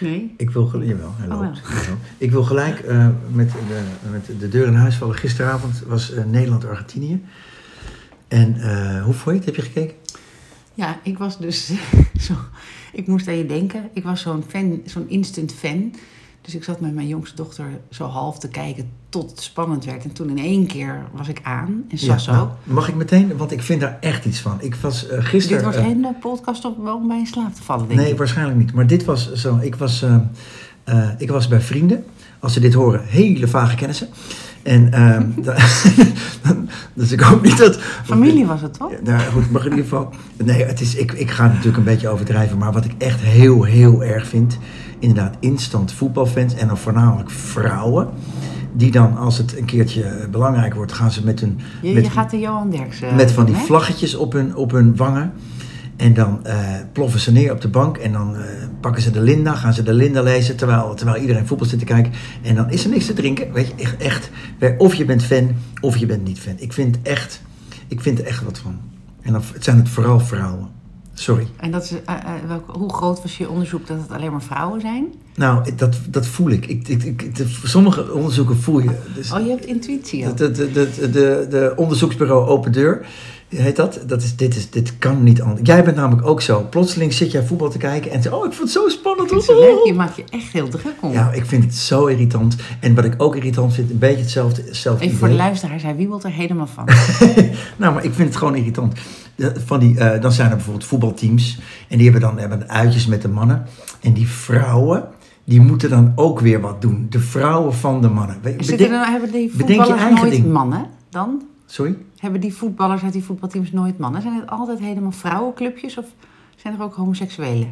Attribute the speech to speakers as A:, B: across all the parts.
A: Nee?
B: Ik wil, gel- jawel, hij
A: Oh,
B: loopt. Jawel. Ik wil gelijk eh, met, de, met de deur in huis vallen. Gisteravond was eh, Nederland-Argentinië. En eh, hoe vond je het? Heb je gekeken?
A: Ja, ik was dus zo... Ik moest aan je denken. Ik was zo'n fan, zo'n instant fan. Dus ik zat met mijn jongste dochter zo half te kijken tot het spannend werd. En toen in één keer was ik aan. En Sas
B: nou,
A: ook.
B: mag ik meteen? Want ik vind daar echt iets van. Ik was eh, gisteren...
A: Dit wordt
B: eh,
A: geen eh, podcast op, om bij in slaap te vallen, denk
B: Nee,
A: ik.
B: waarschijnlijk niet. Maar dit was zo. Ik was, eh, eh, ik was bij vrienden. Als ze dit horen, hele vage kennissen. En ehm, da- dus ik hoop niet dat.
A: Familie was het, toch?
B: Ja, nou goed, maar in ieder geval. Nee, het is, ik, ik ga natuurlijk een beetje overdrijven. Maar wat ik echt heel, heel erg vind. Inderdaad, instant voetbalfans. En dan voornamelijk vrouwen. Die dan, als het een keertje eh, belangrijk wordt, gaan ze met hun.
A: Je, je
B: met,
A: gaat de Johan Derksen... eh,
B: met van die
A: doen, hè?
B: vlaggetjes op hun, op hun wangen. En dan eh, ploffen ze neer op de bank. En dan eh, pakken ze de Linda, gaan ze de Linda lezen. Terwijl, terwijl iedereen voetbal zit te kijken. En dan is er niks te drinken. Weet je, echt. echt Wij- of je bent fan, of je bent niet fan. Ik vind echt, ik vind er echt wat van. En dan het zijn het vooral vrouwen. Sorry.
A: En dat is, eh, eh, welk- hoe groot was je onderzoek dat het alleen maar vrouwen zijn?
B: Nou, dat, dat voel ik. ik, ik, ik- de- sommige onderzoeken voel je. Dus,
A: Oh, je hebt intuïtie al.
B: De, de, de, de, de, de onderzoeksbureau Open Deur heet dat. dat is, dit, is, dit kan niet anders. Jij bent namelijk ook zo. Plotseling zit jij voetbal te kijken en zegt: Oh, ik vond het zo spannend.
A: Vind je leuk? Je maakt je echt heel druk om.
B: Ja, ik vind het zo irritant. En wat ik ook irritant vind, een beetje hetzelfde. hetzelfde
A: Even voor de
B: idee.
A: luisteraars, hij wiebelt er helemaal van.
B: nou, maar ik vind het gewoon irritant. De- Van die, eh, dan zijn er bijvoorbeeld voetbalteams. En die hebben dan hebben uitjes met de mannen. En die vrouwen, die moeten dan ook weer wat doen. De vrouwen van de mannen. Weet-
A: Zitten
B: bedenk-
A: er, nou- hebben die
B: bedenk je
A: voetballers
B: eigen
A: nooit
B: ding.
A: mannen dan?
B: Sorry?
A: Hebben die voetballers uit die voetbalteams nooit mannen? Zijn het altijd helemaal vrouwenclubjes of zijn er ook homoseksuelen?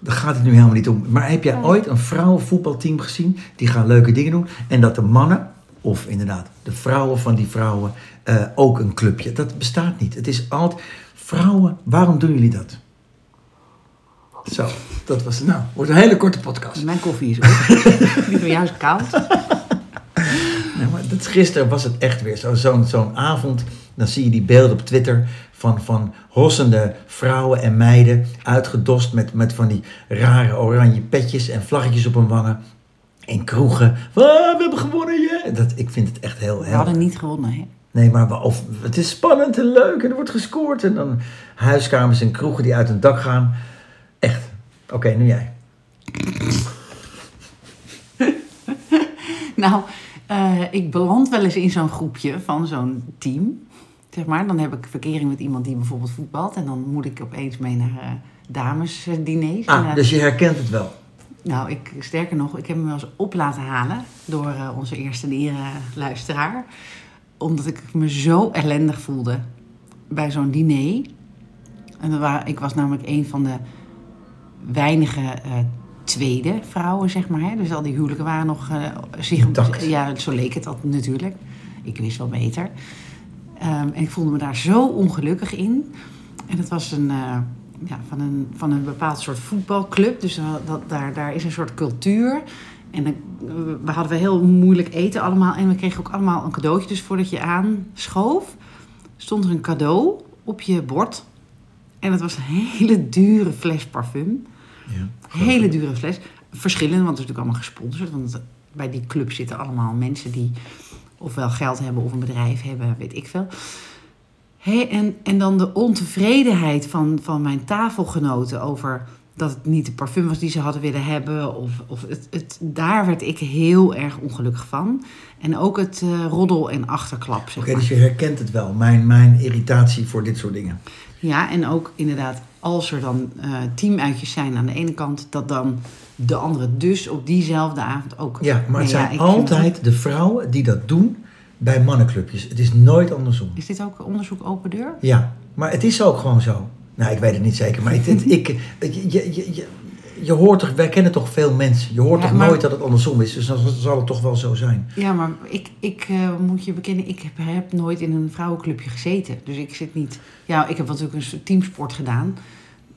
B: Daar gaat het nu helemaal niet om. Maar heb jij ooit een vrouwenvoetbalteam gezien? Die gaan leuke dingen doen. En dat de mannen, of inderdaad de vrouwen van die vrouwen, eh, ook een clubje. Dat bestaat niet. Het is altijd. Vrouwen, waarom doen jullie dat? Zo, dat was. Nou, wordt een hele korte podcast.
A: Mijn koffie is op. die van jou is koud.
B: Nee, maar dat, gisteren was het echt weer zo- zo'n zo'n avond. Dan zie je die beelden op Twitter van, van hossende vrouwen en meiden. Uitgedost met, met van die rare oranje petjes en vlaggetjes op hun wangen. In kroegen. Ah, we hebben gewonnen, yeah. Dat, ik vind het echt heel...
A: We
B: heel
A: hadden niet gewonnen, hè?
B: Nee, maar we- of, het is spannend en leuk en er wordt gescoord. En dan huiskamers en kroegen die uit hun dak gaan. Echt. Oké, nu jij.
A: Nou, eh, ik beland wel eens in zo'n groepje van zo'n team. Zeg maar, dan heb ik verkering met iemand die bijvoorbeeld voetbalt. En dan moet ik opeens mee naar eh, damesdiners. En,
B: Ah,
A: eh,
B: dus je herkent het wel.
A: Nou, ik, sterker nog, ik heb hem wel eens op laten halen door eh, onze eerste leren luisteraar. Omdat ik me zo ellendig voelde bij zo'n diner. En er waren, ik was namelijk een van de weinige eh, tweede vrouwen, zeg maar. Hè? Dus al die huwelijken waren nog... eh, zich,
B: Intact.
A: ja, zo leek het dat natuurlijk. Ik wist wel beter. Ehm, en ik voelde me daar zo ongelukkig in. En dat was een, eh, ja, van, een, van een bepaald soort voetbalclub. Dus eh, dat, daar, daar is een soort cultuur. En dan, eh, we hadden wel heel moeilijk eten allemaal. En we kregen ook allemaal een cadeautje. Dus voordat je aanschoof, stond er een cadeau op je bord. En dat was een hele dure fles parfum. Hele dure fles. Verschillende, want het is natuurlijk allemaal gesponsord. Want bij die club zitten allemaal mensen die ofwel geld hebben of een bedrijf hebben, weet ik veel. Hé, en, en dan de ontevredenheid van, van mijn tafelgenoten over dat het niet de parfum was die ze hadden willen hebben. Of, of het, het, daar werd ik heel erg ongelukkig van. En ook het eh, roddel en achterklap, zeg
B: Oké,
A: maar.
B: dus je herkent het wel. Mijn, mijn irritatie voor dit soort dingen.
A: Ja, en ook inderdaad, als er dan eh, teamuitjes zijn aan de ene kant, dat dan de andere dus op diezelfde avond ook.
B: Ja, maar
A: Nee,
B: het zijn
A: ik vind
B: altijd de vrouwen die dat doen bij mannenclubjes. Het is nooit andersom.
A: het- Is dit ook onderzoek open deur?
B: Ja, maar het is ook gewoon zo. Nou, ik weet het niet zeker, maar ik, het- ik, je, je, je, je- je hoort toch, wij kennen toch veel mensen. Je hoort
A: Ja,
B: toch
A: maar-
B: nooit dat het andersom is, dus dan zal het toch wel zo zijn.
A: Ja, maar ik, ik eh, moet je bekennen, ik heb, heb nooit in een vrouwenclubje gezeten. Dus ik zit niet. Ja, ik heb natuurlijk een soort teamsport gedaan,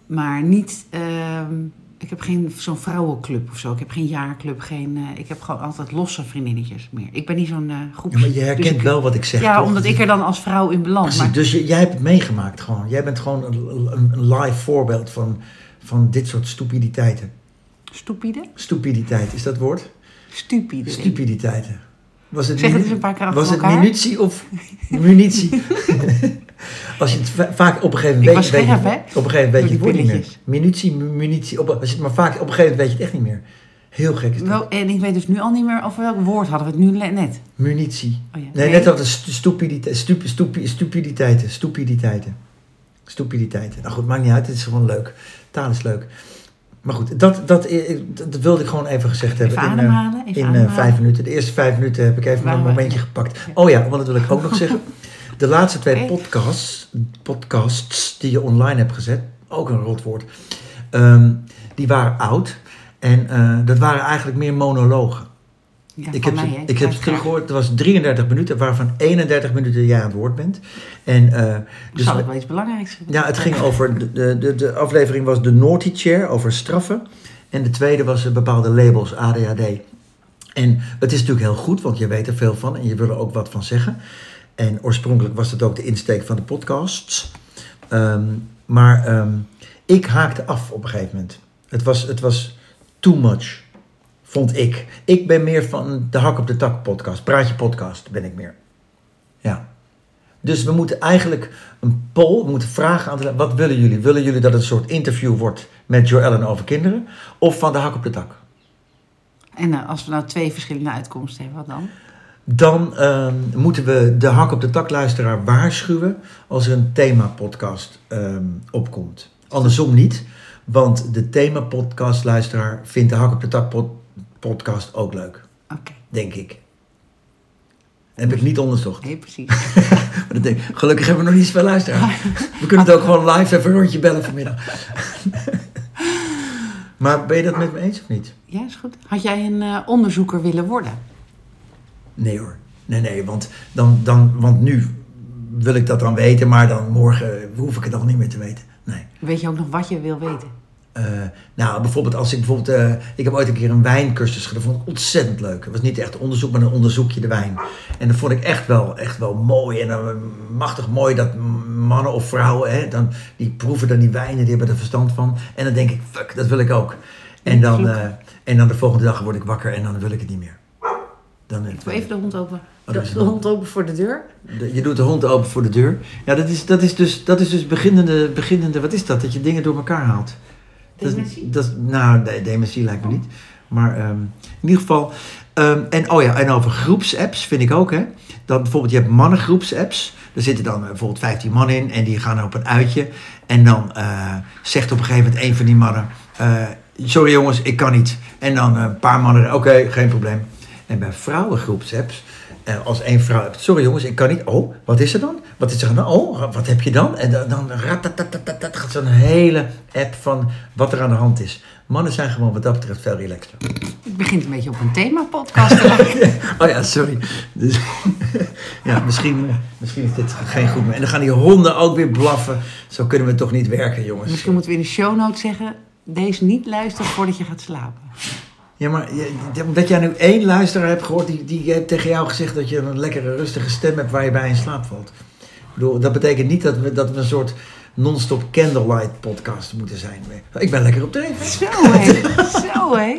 A: maar niet. ehm, ik heb geen zo'n vrouwenclub of zo. Ik heb geen jaarclub, geen. eh, ik heb gewoon altijd losse vriendinnetjes meer. Ik ben niet zo'n eh groep.
B: Ja, maar je herkent wel wat ik zeg.
A: Ja,
B: toch?
A: omdat ik er dan als vrouw in beland.
B: Precies,
A: Maar
B: dus je- jij hebt het meegemaakt gewoon. Jij bent gewoon een, een, een live voorbeeld van, van dit soort stupiditeiten.
A: Stupide?
B: Stupiditeit, is dat woord?
A: Stupide.
B: Stupiditeiten. Was het,
A: Zeg het
B: minu-
A: eens een paar keer achter
B: was het
A: elkaar.
B: munitie of munitie? als je het va- vaak op een gegeven
A: Ik
B: moment
A: was
B: weet, weet
A: scherp,
B: je-
A: hè?
B: op een gegeven moment weet je
A: Door
B: het
A: die
B: woord niet meer.
A: pilletjes.
B: Munitie, mu- munitie. Op, als je het maar vaak op een gegeven moment weet je het echt niet meer. Heel gek is dat.
A: Wel, en ik weet dus nu al niet meer over welk woord hadden we het nu le- net.
B: Munitie.
A: Oh ja.
B: Nee, net als de stu- stupidite- stup- stup- stupiditeiten. Stupiditeiten. Stupiditeiten. Nou goed, maakt niet uit. Het is gewoon leuk. Taal is leuk. Maar goed, dat, dat, eh, dat wilde ik gewoon even gezegd hebben.
A: Even
B: in eh,
A: ademhalen,
B: in
A: even
B: eh,
A: ademhalen.
B: vijf minuten. De eerste vijf minuten heb ik even
A: Waar
B: een
A: we-
B: momentje gepakt. Oh ja, want dat wil ik ook nog zeggen. De laatste twee
A: Oké.
B: podcasts, podcasts die je online hebt gezet, ook een rot woord, ehm, die waren oud. En eh, dat waren eigenlijk meer monologen.
A: Ja,
B: Ik
A: van
B: heb, ze-
A: mij, hè?
B: ik heb het
A: Uiteraard.
B: teruggehoord, het was 33 minuten, waarvan 31 minuten jij aan het woord bent. En, eh, dus
A: Zal
B: we-
A: het wel iets belangrijks zijn?
B: ja, het ging over, de- de, de, de aflevering was de Naughty Chair, over straffen. En de tweede was eh, bepaalde labels, ADHD. En het is natuurlijk heel goed, want je weet er veel van en je wil er ook wat van zeggen. En oorspronkelijk was dat ook de insteek van de podcasts. Ehm, maar ehm, ik haakte af op een gegeven moment. Het was, het was too much, vond ik. Ik ben meer van de hak op de tak podcast, praatje podcast ben ik meer. Ja. Dus we moeten eigenlijk een poll, we moeten vragen aan de Wat willen jullie? Willen jullie dat het een soort interview wordt met Joellen over kinderen? Of van de hak op de tak?
A: En eh, als we nou twee verschillende uitkomsten hebben, wat dan?
B: Dan ehm, moeten we de hak op de tak luisteraar waarschuwen als er een themapodcast ehm opkomt. Andersom niet, want de themapodcast luisteraar vindt de hak op de tak pod- podcast ook leuk,
A: Oké,
B: denk ik. Heb ik niet onderzocht.
A: nee, precies.
B: Maar dat denk ik, gelukkig hebben we nog niet zoveel luisteraars. We kunnen het ook gewoon live even een rondje bellen vanmiddag. Maar ben je dat met me eens of niet?
A: Ja, is goed. Had jij een eh, onderzoeker willen worden?
B: Nee hoor. Nee, nee, want, dan, dan, want nu wil ik dat dan weten, maar dan morgen hoef ik het dan niet meer te weten. Nee.
A: Weet je ook nog wat je wil weten?
B: Eh, nou, bijvoorbeeld als ik bijvoorbeeld... eh, ik heb ooit een keer een wijncursus gedaan. Dat vond ik ontzettend leuk. Het was niet echt onderzoek, maar dan onderzoek je de wijn. En dat vond ik echt wel, echt wel mooi. En dan, eh, machtig mooi dat mannen of vrouwen... Hè, dan, die proeven dan die wijnen, die hebben er verstand van. En dan denk ik, fuck, dat wil ik ook. En dan, eh, en dan de volgende dag word ik wakker en dan wil ik het niet meer. Dan,
A: Doe even de hond open.
B: Oh,
A: de,
B: dat is
A: de
B: een
A: hond open voor de deur.
B: de- Je doet de hond open voor de deur. Ja, dat is, dat is dus, dat is dus beginnende, beginnende... Wat is dat? Dat je dingen door elkaar haalt. Dat-
A: Dementie?
B: Dat, nou, nee, dementie lijkt me niet. Maar ehm, in ieder geval... ehm, en, oh ja, en over groepsapps vind ik ook, hè. Dat bijvoorbeeld, je hebt mannengroepsapps. Daar zitten dan eh, bijvoorbeeld 15 mannen in en die gaan op een uitje. En dan eh, zegt op een gegeven moment een van die mannen... eh, sorry jongens, ik kan niet. En dan eh, een paar mannen, oké, geen probleem. En bij vrouwengroepsapps... eh, als één vrouw hebt, sorry jongens, ik kan niet. Oh, wat is er dan? Wat is er dan? Oh, wat heb je dan? En dan, dan ratatatatat, gaat zo'n hele app van wat er aan de hand is. Mannen zijn gewoon wat dat betreft veel relaxter.
A: Het begint een beetje op een themapodcast te lijken.
B: Oh ja, sorry. Dus, ja, misschien, eh, misschien is dit geen goed meer. En dan gaan die honden ook weer blaffen. Zo kunnen we toch niet werken, jongens.
A: Misschien moeten we in de show notes zeggen... deze niet luisteren voordat je gaat slapen.
B: Ja, maar je- omdat jij nu één luisteraar hebt gehoord... Die, die heeft tegen jou gezegd dat je een lekkere, rustige stem hebt... waar je bij in slaap valt. Ik bedoel, dat betekent niet dat we, dat we een soort non-stop candlelight podcast moeten zijn. Ik ben lekker op dreef.
A: Zo hé, zo hé.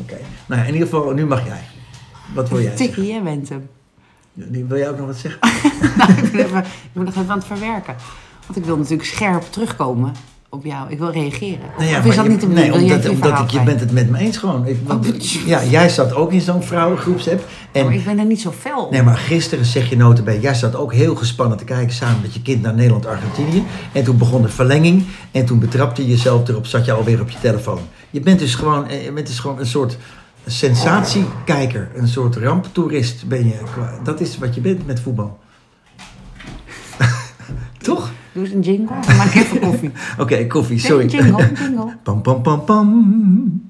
B: Oké. Nou ja, in ieder geval, nu mag jij. Wat wil jij zeggen?
A: Tikkie, jij bent hem.
B: Wil jij ook nog wat zeggen?
A: Nou, ik, ben even, ik ben nog even aan het verwerken. Want ik wil natuurlijk scherp terugkomen op jou. Ik wil reageren.
B: Nou ja,
A: of
B: maar
A: is dat
B: je-
A: niet de bedoeling?
B: Nee,
A: Wil jij
B: omdat,
A: even je
B: omdat
A: verhaal
B: ik, je
A: kwijt?
B: bent het met me eens gewoon. Ik, want-
A: Oh, tjoh.
B: ja, jij zat ook in zo'n vrouwengroepsapp. En,
A: Maar ik ben er niet zo fel op.
B: Nee, maar gisteren zeg je notabene, jij zat ook heel gespannen te kijken samen met je kind naar Nederland-Argentinië. En toen begon de verlenging en toen betrapte je jezelf erop, zat je alweer op je telefoon. Je bent dus gewoon, eh, je bent dus gewoon een soort sensatiekijker, een soort ramptoerist ben je. qua- Dat is wat je bent met voetbal. Toch?
A: Doe eens een jingle. Dan maak ik even koffie.
B: Oké, koffie,
A: Nee,
B: sorry.
A: een jingle, een jingle.
B: Pam, pam, pam, pam.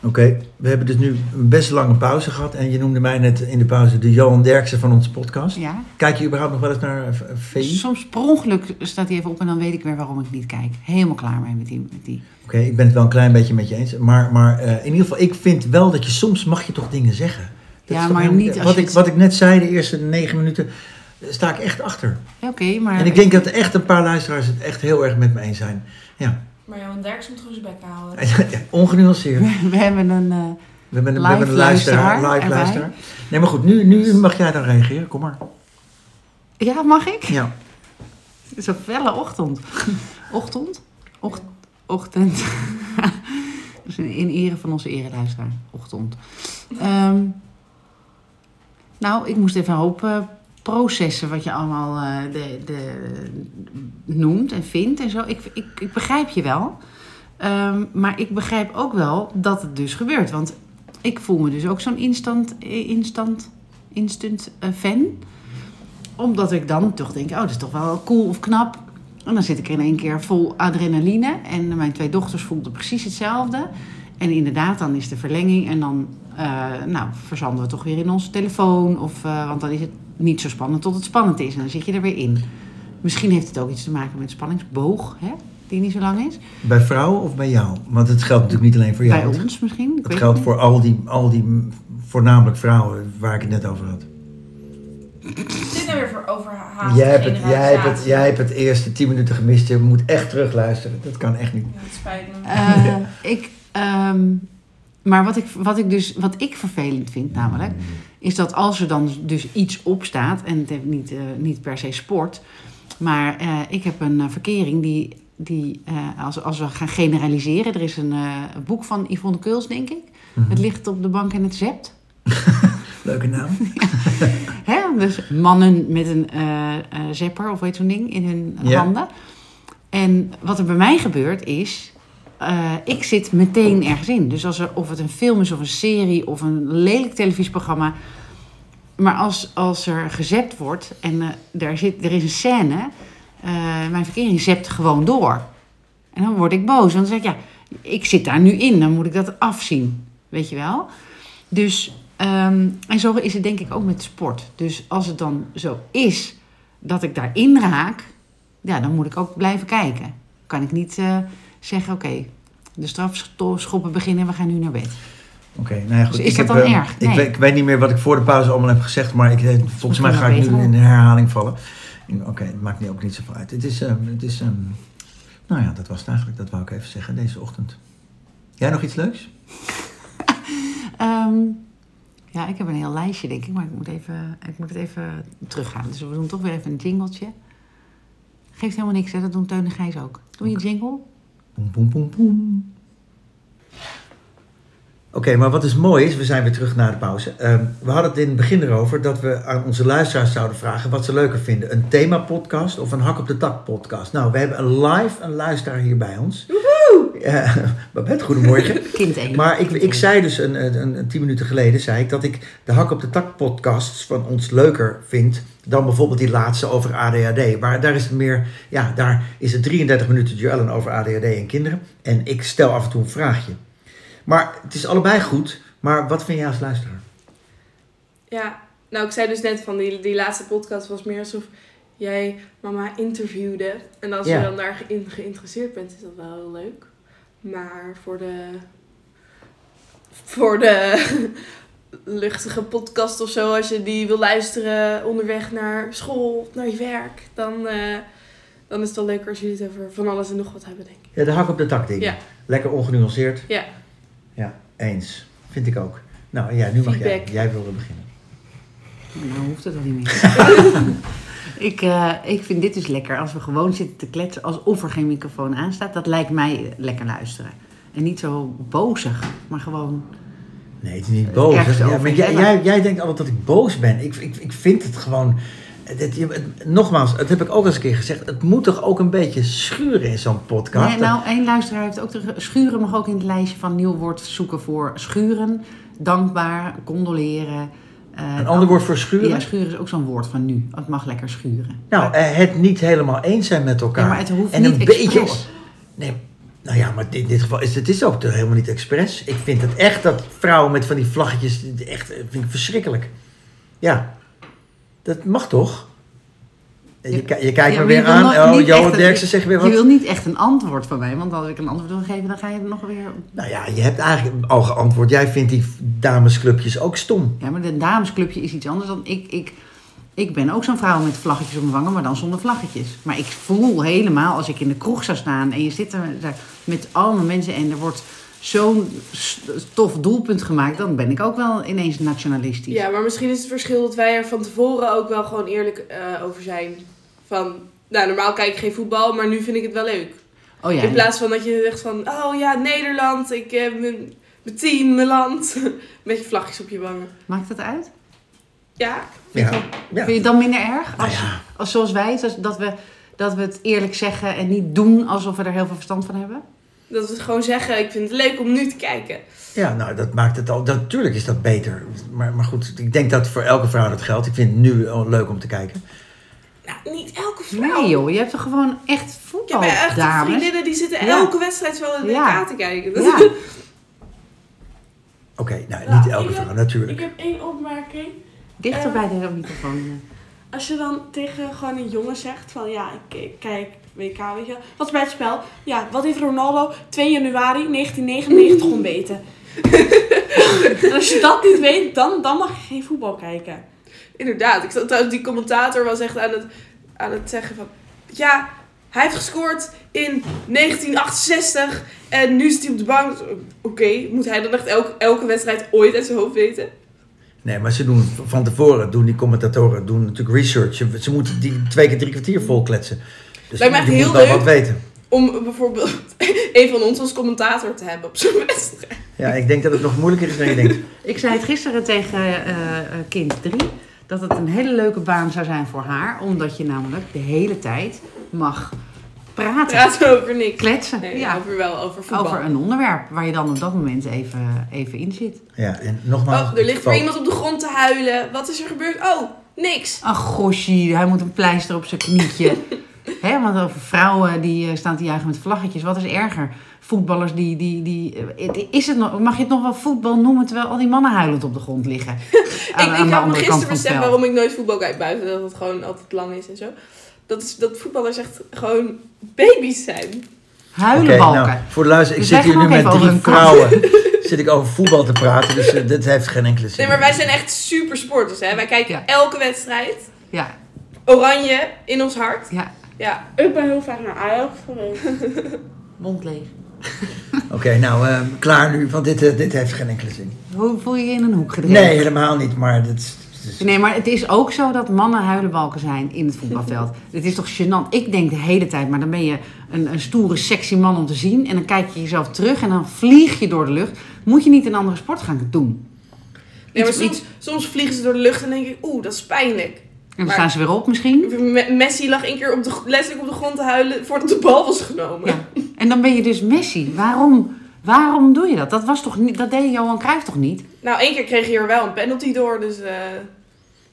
B: Oké, we hebben dus nu een best lange pauze gehad. En je noemde mij net in de pauze de Johan Derksen van onze podcast.
A: Ja.
B: Kijk je überhaupt nog wel eens naar eh, v- VI? Oké,
A: Soms per ongeluk staat hij even op en dan weet ik weer waarom ik niet kijk. Helemaal klaar mee met die. Met die.
B: ik ben het wel een klein beetje met je eens. Maar, maar eh, in ieder geval, ik vind wel dat je soms mag je toch dingen zeggen. Dat
A: Ja,
B: is toch
A: maar
B: helemaal-
A: niet als
B: wat,
A: je
B: ik,
A: het-
B: wat ik net zei, de eerste negen minuten, eh, sta ik echt achter.
A: Ja, Oké, maar.
B: En ik denk dat echt een paar luisteraars het echt heel erg met me eens zijn. Ja,
C: Maar Johan Derks moet gewoon zijn bek houden.
B: Ja, ongenuanceerd.
A: We hebben een... eh,
B: We hebben een, we
A: Live
B: hebben een luisteraar.
A: luisteraar
B: Live
A: erbij.
B: luisteraar. Nee, maar goed, nu, nu mag jij dan reageren. Kom maar.
A: ja, mag ik?
B: Ja.
A: Het is een felle ochtend. Ochtend? Och- ochtend. dus in, in ere van onze ereluisteraar. Ochtend. Ehm, nou, ik moest even een hoop eh, processen wat je allemaal eh, de, de, noemt en vindt en zo. Ik, ik, ik begrijp je wel. Ehm, maar ik begrijp ook wel dat het dus gebeurt. Want ik voel me dus ook zo'n instant, eh, instant, instant eh, fan omdat ik dan toch denk, oh, dat is toch wel cool of knap. En dan zit ik er in één keer vol adrenaline. En mijn twee dochters voelden precies hetzelfde. En inderdaad, dan is de verlenging. En dan eh, nou, verzanden we toch weer in onze telefoon. Of, eh, want dan is het niet zo spannend tot het spannend is. En dan zit je er weer in. Misschien heeft het ook iets te maken met spanningsboog, hè? die niet zo lang is.
B: Bij vrouwen of bij jou? Want het geldt natuurlijk niet alleen voor jou.
A: Bij
B: Het-
A: ons misschien. ik weet
B: Het
A: het
B: geldt
A: niet.
B: voor al die, al die m- voornamelijk vrouwen waar ik het net over had.
C: Wat zit nou weer voor overhaast
B: Jij hebt, het, jij, hebt het,
C: generatie?
B: jij hebt het eerste 10 minuten gemist. Je moet echt terugluisteren. Dat kan echt niet.
C: Ja, het spijt me.
A: Eh, ik, ehm, maar wat ik, wat, ik dus, wat ik vervelend vind namelijk, is dat als er dan dus iets opstaat, en het heeft niet, eh, niet per se sport, maar eh, ik heb een eh, verkering die, die eh, als, als we gaan generaliseren, er is een eh, boek van Yvonne Keuls, denk ik. Het ligt op de bank en het zept.
B: Mm. Leuke naam.
A: Hè? Dus mannen met een eh, eh, zepper of weet zo'n ding in hun
B: Ja.
A: handen. En wat er bij mij gebeurt is, eh, ik zit meteen ergens in. Dus als er, of het een film is of een serie of een lelijk televisieprogramma. Maar als, als er gezept wordt en eh, daar zit, er is een scène, eh, mijn verkering zept gewoon door. En dan word ik boos. Want dan zeg ik, ja, ik zit daar nu in, dan moet ik dat afzien. Weet je wel? Dus, ehm, en zo is het denk ik ook met sport. Dus als het dan zo is dat ik daarin raak, ja, dan moet ik ook blijven kijken. Kan ik niet eh, zeggen, oké, de strafschoppen beginnen en we gaan nu naar bed.
B: Oké, nou ja, goed.
A: Dus is
B: ik
A: dat
B: heb,
A: dan
B: ehm,
A: erg?
B: Ik,
A: Nee.
B: weet, ik weet niet meer wat ik voor de pauze allemaal heb gezegd, maar ik, eh, volgens mij
A: wel
B: ga ik nu
A: beter.
B: in herhaling vallen. In- Oké, het maakt nu ook niet zoveel uit. Het is, ehm, het is ehm, nou ja, dat was het eigenlijk. Dat wou ik even zeggen deze ochtend. Jij nog iets leuks?
A: Ehm, ja, ik heb een heel lijstje, denk ik, maar ik moet, even, ik moet het even teruggaan. Dus we doen toch weer even een jingletje. Geeft helemaal niks, hè? Dat doen Teun en Gijs ook. Doe je een jingle?
B: Boem, boem, boem, boem. Oké, maar wat dus mooi is, we zijn weer terug na de pauze. Ehm, we hadden het in het begin erover dat we aan onze luisteraars zouden vragen wat ze leuker vinden. Een thema-podcast of een hak op de tak podcast. Nou, we hebben een live een luisteraar hier bij ons. Woehoe! Babette, goedemorgen.
A: Kind één.
B: Maar ik, ik zei dus een, een, een, een tien minuten geleden zei ik dat ik de Hak op de Tak podcasts van ons leuker vind dan bijvoorbeeld die laatste over ADHD. Maar daar is het meer, ja, daar is het 33 minuten duellen over ADHD en kinderen. En ik stel af en toe een vraagje. Maar het is allebei goed. Maar wat vind jij als luisteraar?
D: Ja, nou ik zei dus net van die, die laatste podcast was meer alsof jij mama interviewde. En als
B: Ja.
D: je dan daarin geïnteresseerd bent, is dat wel heel leuk. Maar voor de, voor de luchtige podcast of zo, als je die wil luisteren onderweg naar school of naar je werk, dan, eh, dan is het wel leuker als jullie het over van alles en nog wat hebben, denk ik.
B: Ja, de Hak op de Tak dingen.
D: Ja.
B: Lekker ongenuanceerd.
D: Ja.
B: Ja, eens. Vind ik ook. Nou ja, nu mag jij.
D: Feedback.
B: Jij wilde beginnen.
A: Nou hoeft het al niet meer. ik, eh, ik vind dit dus lekker als we gewoon zitten te kletsen alsof er geen microfoon aan staat. Dat lijkt mij lekker luisteren. En niet zo bozig, maar gewoon.
B: Nee, het is niet boos.
A: ergste
B: Ja,
A: over
B: maar
A: is,
B: jij,
A: hè, maar-
B: jij, jij denkt altijd dat ik boos ben. Ik, ik, ik vind het gewoon... het- het- je- het- nogmaals, dat heb ik ook eens een keer gezegd. Het moet toch ook een beetje schuren in zo'n podcast?
A: Nee, nou, één luisteraar heeft ook terug. Schuren mag ook in het lijstje van nieuw woord zoeken voor schuren. Dankbaar, condoleren. eh,
B: een ander woord voor schuren?
A: Ja, schuren is ook zo'n woord van nu. Het mag lekker schuren.
B: Nou, eh, het niet helemaal eens zijn met elkaar.
A: Ja, maar het hoeft
B: en
A: niet
B: een
A: expres.
B: beetje. Nee, nou ja, maar in dit geval is het is ook toch helemaal niet expres. Ik vind het echt dat vrouwen met van die vlaggetjes, echt, eh, vind ik verschrikkelijk. Ja, dat mag toch? Eh, Je,
A: Ja.
B: ki- je kijkt
A: Ja,
B: me
A: maar je
B: weer
A: wil
B: aan.
A: nooit-
B: oh,
A: niet
B: Johan
A: echt een-
B: Derksen zegt weer wat.
A: Je wil niet echt een antwoord van mij, want als ik een antwoord wil geven, dan ga je nog weer.
B: Nou ja, je hebt eigenlijk al geantwoord. Jij vindt die damesclubjes ook stom.
A: Ja, maar een damesclubje is iets anders dan ik. ik Ik ben ook zo'n vrouw met vlaggetjes op mijn wangen, maar dan zonder vlaggetjes. Maar ik voel helemaal, als ik in de kroeg zou staan en je zit er daar met allemaal mensen en er wordt zo'n s- tof doelpunt gemaakt, dan ben ik ook wel ineens nationalistisch.
D: Ja, maar misschien is het verschil dat wij er van tevoren ook wel gewoon eerlijk eh, over zijn. Van, nou, normaal kijk ik geen voetbal, maar nu vind ik het wel leuk.
A: oh ja,
D: In plaats van dat je zegt van, oh ja, Nederland, ik heb mijn, mijn team, mijn land. Met je vlagjes op je wangen.
A: maakt dat uit?
D: Ja,
B: Ja. ja.
A: Vind je het dan minder erg?
B: Nou
A: Als,
B: ja,
A: als zoals wij, zoals- dat we, dat we het eerlijk zeggen en niet doen alsof we er heel veel verstand van hebben?
D: dat we gewoon zeggen, ik vind het leuk om nu te kijken.
B: ja, nou dat maakt het al. dat- Natuurlijk is dat beter. Maar, maar goed, ik denk dat voor elke vrouw dat geldt. Ik vind het nu al leuk om te kijken.
D: Nou, niet elke vrouw.
A: Nee joh, je hebt toch gewoon echt
D: Ik heb echt
A: voetbaldames?
D: vriendinnen die zitten
A: Ja.
D: elke wedstrijd wel in de
A: Ja.
D: WK te kijken. Dat-
A: Ja,
B: Oké, nou
C: Ja,
B: niet elke
C: ik-
B: vrouw, natuurlijk.
C: Ik heb één opmerking.
A: dichter bij de microfoon. eh.
E: Als je dan tegen gewoon een jongen zegt van ja, ik- ik kijk WK, weet je wel. Wat is bij het spel? Ja, wat heeft Ronaldo 2 januari 1999 ontbeten? en als je dat niet weet, dan, dan mag je geen voetbal kijken.
D: Inderdaad, ik zat trouwens, die commentator was echt aan het, aan het zeggen van... Ja, hij heeft gescoord in 1968 en nu zit hij op de bank. Oké, moet hij dan echt elke, elke wedstrijd ooit uit zijn hoofd weten?
B: Nee, maar ze doen van tevoren, doen die commentatoren, doen natuurlijk research. Ze- Ze moeten die twee keer drie kwartier volkletsen. Dus
D: Lijkt me echt
B: je
D: heel
B: moet wel
D: leuk.
B: wat weten.
D: Om bijvoorbeeld een van ons als commentator te hebben op zo'n wedstrijd.
B: Ja, ik denk dat het nog moeilijker is dan je denkt.
A: Ik zei het gisteren tegen eh, eh, kind 3 dat het een hele leuke baan zou zijn voor haar, omdat je namelijk de hele tijd mag praten,
D: Praten we over niks.
A: kletsen
D: Nee,
A: ja,
D: over wel, over voetbal.
A: over een onderwerp waar je dan op dat moment even, even in zit.
B: Ja, en nogmaals.
D: Oh, er
B: het
D: ligt
B: geval-
D: weer iemand op de grond te huilen. Wat is er gebeurd? Oh, niks.
A: Ach goshie, hij moet een pleister op zijn knietje. Hè, want over vrouwen die eh, staan te juichen met vlaggetjes, wat is erger? Voetballers die. die, die eh, het- is het nog, mag je het nog wel voetbal noemen terwijl al die mannen huilend op de grond liggen? Aan- aan de
D: ik ik had me
A: andere kant
D: gisteren
A: van het
D: beseft
A: veld.
D: waarom ik nooit voetbal kijk buiten. Dat het gewoon altijd lang is en zo. Dat, is, dat voetballers echt gewoon baby's zijn.
B: Oké,
A: Huilenbalken.
B: nou, voor de luister, ik
A: Dus
B: zit
A: wij
B: hier
A: gaan
B: nu
A: ook
B: met
A: even
B: drie
A: over een
B: vrouwen. zit ik over voetbal te praten, dus eh, dit heeft geen enkele zin.
D: Nee, maar wij zijn echt super sporters. Hè? Wij kijken
A: Ja.
D: elke wedstrijd.
A: Ja,
D: Oranje in ons hart.
A: ja,
D: Ja.
E: Ik ben heel vaak naar Ajax geweest.
A: mond leeg.
B: Oké, nou, eh, klaar nu, want dit, eh, dit heeft geen enkele zin.
A: Hoe voel je je in een hoek gedreven?
B: Nee, helemaal niet, maar dit is- dit is...
A: Nee, maar het is ook zo dat mannen huilenbalken zijn in het voetbalveld. Het is toch gênant? Ik denk de hele tijd, maar dan ben je een, een stoere, sexy man om te zien. En dan kijk je jezelf terug en dan vlieg je door de lucht. Moet je niet een andere sport gaan doen?
D: Ja, maar
A: Iets-
D: soms, soms vliegen ze door de lucht en denk ik, oeh, dat is pijnlijk.
A: En dan
D: Maar-
A: staan ze weer op misschien.
D: Me- Messi lag één keer op de, letterlijk op de grond te huilen voordat de bal was genomen.
A: Ja. En dan ben je dus Messi. Waarom, waarom doe je dat? Dat, was toch niet, dat deed Johan Cruijff toch niet?
D: Nou, één keer kreeg je er wel een penalty door, dus... eh,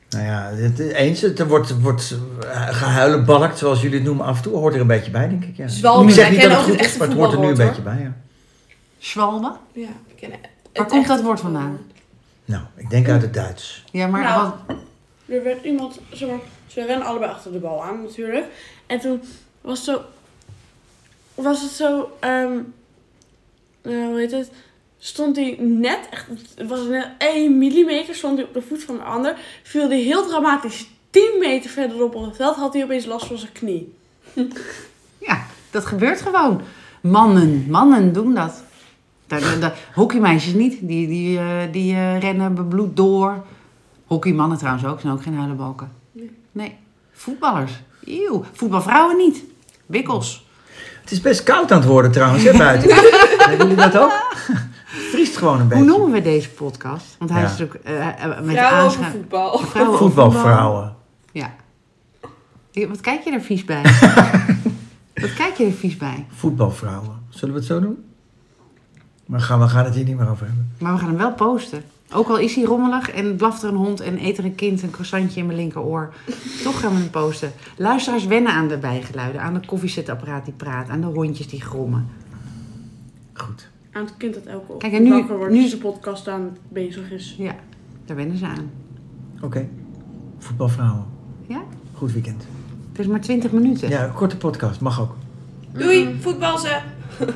B: Nou ja, het, eens, het wordt, wordt eh, gehuilenbalkt, zoals jullie het noemen, af en toe. Hoort er een beetje bij, denk ik. Ja.
D: Zwalbe,
B: ik zeg
D: wij
B: niet dat
D: kennen
B: het
D: ook
B: goed
D: het
B: is,
D: echte
B: maar het hoort er nu een
D: voetbalwoord,
B: beetje bij, ja.
A: Schwalbe?
D: ja, ik ken het
A: Waar komt
D: echte
A: dat woord
D: voetbalwoord.
A: vandaan?
B: Nou, ik denk uit het Duits.
A: Ja, maar
E: Nou,
A: wat,
E: Er werd iemand, zeg maar, ze rennen allebei achter de bal aan natuurlijk. En toen was, zo, was het zo, ehm, eh, hoe heet het? Stond hij net, echt, het was net 1 millimeter, stond hij op de voet van de ander. Viel hij heel dramatisch 10 meter verderop op het veld, had hij opeens last van zijn knie.
A: Ja, dat gebeurt gewoon. Mannen, mannen doen dat. De, hockeymeisjes niet. Die, die, eh, die eh, rennen bebloed door. Hockeymannen trouwens ook, zijn ook geen huilenbalken. Nee. Voetballers. Eeuw. Voetbalvrouwen niet. Wikkels.
B: Het is best koud aan het worden trouwens, hè, buiten. Hebben jullie dat ook? Het vriest gewoon een beetje.
A: Hoe noemen we deze podcast? Want hij
B: Ja.
A: is natuurlijk eh, eh, met
D: Vrouwen over
A: aanscha-
D: voetbal.
A: Vrouwen over voetbal.
B: Voetbalvrouwen.
A: Ja. Je- Wat kijk je er vies bij? Wat kijk je er vies bij?
B: Voetbalvrouwen. Zullen we het zo doen? Maar gaan we gaan het hier niet meer over hebben.
A: Maar we gaan hem wel posten. Ook al is hij rommelig en blaft er een hond en eet er een kind een croissantje in mijn linkeroor. Toch gaan we hem posten. Luisteraars wennen aan de bijgeluiden, aan de koffiezetapparaat die praat, aan de hondjes die grommen.
B: Goed.
E: Aan het kind dat elke ochtend
A: Kijk, en nu-
E: wakker wordt,
A: nu-
E: dus de podcast aan bezig is.
A: Ja, daar wennen ze aan.
B: Oké. Voetbalvrouwen.
A: Ja?
B: Goed weekend.
A: Het is maar 20 minuten.
B: Ja, korte podcast. Mag ook.
D: Doei, voetbal ze!